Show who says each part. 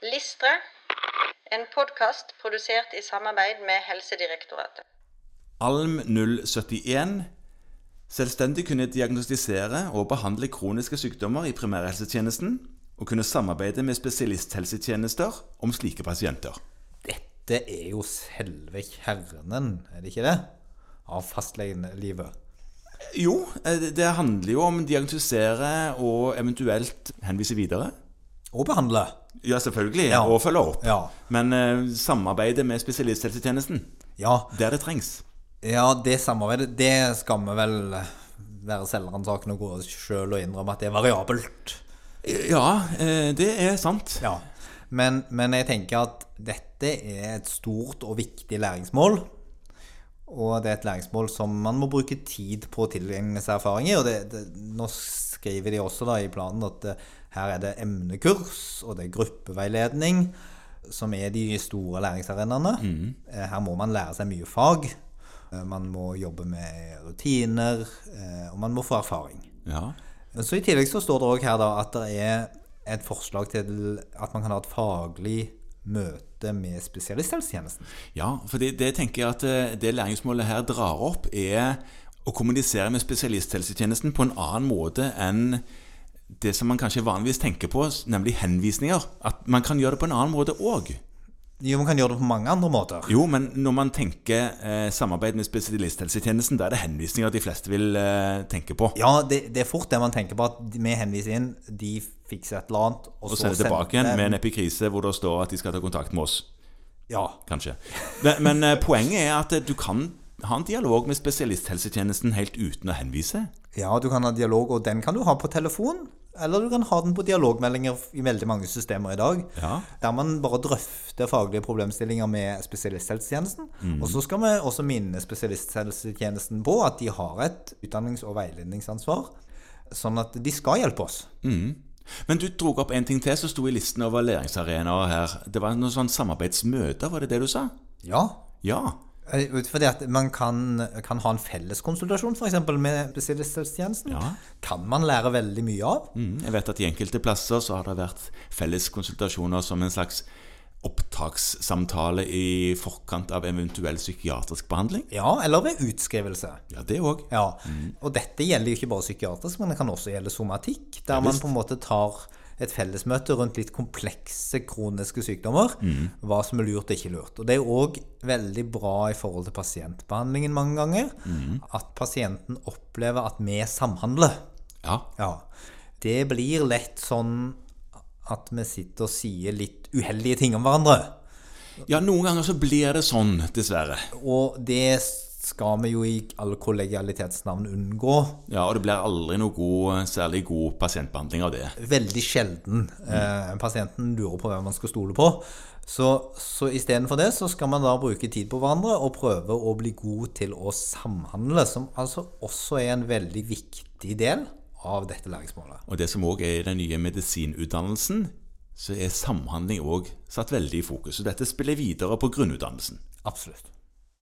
Speaker 1: Listre, en podkast produsert i samarbeid med Helsedirektoratet.
Speaker 2: ALM 071 selvstendig kunne diagnostisere og behandle kroniske sykdommer i primærhelsetjenesten, og kunne samarbeide med spesialisthelsetjenester om slike pasienter.
Speaker 3: Dette er jo selve kjernen, er det ikke det? Av fastlegenlivet.
Speaker 2: Jo, eh, det- det handler jo om diagnostisere og eventuelt henvise videre.
Speaker 3: Og behandle.
Speaker 2: Ja, selvfølgelig,
Speaker 3: Ja.
Speaker 2: og følge opp.
Speaker 3: Ja.
Speaker 2: Men eh, samarbeide med spesialisthelsetjenesten,
Speaker 3: Ja,
Speaker 2: der det trengs.
Speaker 3: ja det samarbeidet, det skal vi vel være selvransakende og gå oss sjøl og innrømme at det er variabelt.
Speaker 2: Ja, eh, det er sant.
Speaker 3: Ja. Men, men jeg tenker at dette er et stort og viktig læringsmål. Og det er et læringsmål som man må bruke tid på å tilegne seg erfaring i. Og det, det, nå skriver de også da i planen at eh, her er det emnekurs, og det er gruppeveiledning, som er de store læringsarenaene. Eh, Her må man lære seg mye fag. Eh, Man må jobbe med rutiner, eh, og man må få erfaring.
Speaker 2: Ja.
Speaker 3: Så I tillegg så står det òg her da at det er et forslag til at man kan ha et faglig møte med spesialisthelsetjenesten.
Speaker 2: Ja, for det, det tenker jeg at eh, det læringsmålet her drar opp, er å kommunisere med spesialisthelsetjenesten på en annen måte enn det som man kanskje vanligvis tenker på, s- nemlig henvisninger. At man kan gjøre det på en annen måte òg.
Speaker 3: Jo, man kan gjøre det på mange andre måter.
Speaker 2: Jo, men når man tenker eh, samarbeid med spesialisthelsetjenesten, da er det henvisninger de fleste vil eh, tenke på.
Speaker 3: Ja, det, det er fort det man tenker på, at vi henviser inn, de fikser et eller annet, og,
Speaker 2: Og
Speaker 3: så
Speaker 2: sende tilbake igjen
Speaker 3: sender-
Speaker 2: med en epikrise hvor det står at de skal ta kontakt med oss.
Speaker 3: Ja.
Speaker 2: Kanskje. Men, men eh, poenget er at eh, du kan ha en dialog med spesialisthelsetjenesten helt uten å henvise.
Speaker 3: ja, du kan ha dialog, og den kan du ha på telefon. Eller du kan ha den på dialogmeldinger i veldig mange systemer i dag.
Speaker 2: Ja.
Speaker 3: Der man bare drøfter faglige problemstillinger med spesialisthelsetjenesten.
Speaker 2: Mm.
Speaker 3: Og så skal vi også minne spesialisthelsetjenesten på at de har et utdannings- og veiledningsansvar. Sånn at de skal hjelpe oss.
Speaker 2: Men du dro opp en ting til som sto i listen over læringsarenaer her. Det var noen sånn samarbeidsmøter, var det det du sa?
Speaker 3: Ja.
Speaker 2: Ja.
Speaker 3: Eh, ut Fordi at man kan, kan ha en felles konsultasjon for eksempel, med spesialisthelsetjenesten.
Speaker 2: Ja.
Speaker 3: Kan man lære veldig mye av.
Speaker 2: Mm, jeg vet at i enkelte plasser så har det vært felles konsultasjoner som en slags opptakssamtale i forkant av eventuell psykiatrisk behandling.
Speaker 3: Ja, eller ved utskrivelse.
Speaker 2: Ja, det òg.
Speaker 3: Ja, og dette gjelder jo ikke bare psykiatrisk, men det kan også gjelde somatikk, der man på en måte tar et fellesmøte rundt litt komplekse kroniske sykdommer, hva som er lurt og ikke lurt. Og det er òg veldig bra i forhold til pasientbehandlingen mange ganger, at pasienten opplever at vi samhandler.
Speaker 2: Ja.
Speaker 3: Ja, det blir lett sånn at vi sitter og sier litt uheldige ting om hverandre.
Speaker 2: ja, noen ganger så blir det sånn, dessverre.
Speaker 3: Og det skal vi jo i all kollegialitetsnavn unngå.
Speaker 2: Ja, Og det blir aldri noe god, særlig god pasientbehandling av det.
Speaker 3: veldig sjelden eh, pasienten lurer på hvem man skal stole på. Så, så istedenfor det så skal man da bruke tid på hverandre og prøve å bli god til å samhandle, som altså også er en veldig viktig del av dette læringsmålet.
Speaker 2: Og det som òg er i den nye medisinutdannelsen, så er samhandling òg satt veldig i fokus. Og dette spiller videre på grunnutdannelsen.
Speaker 3: Absolutt.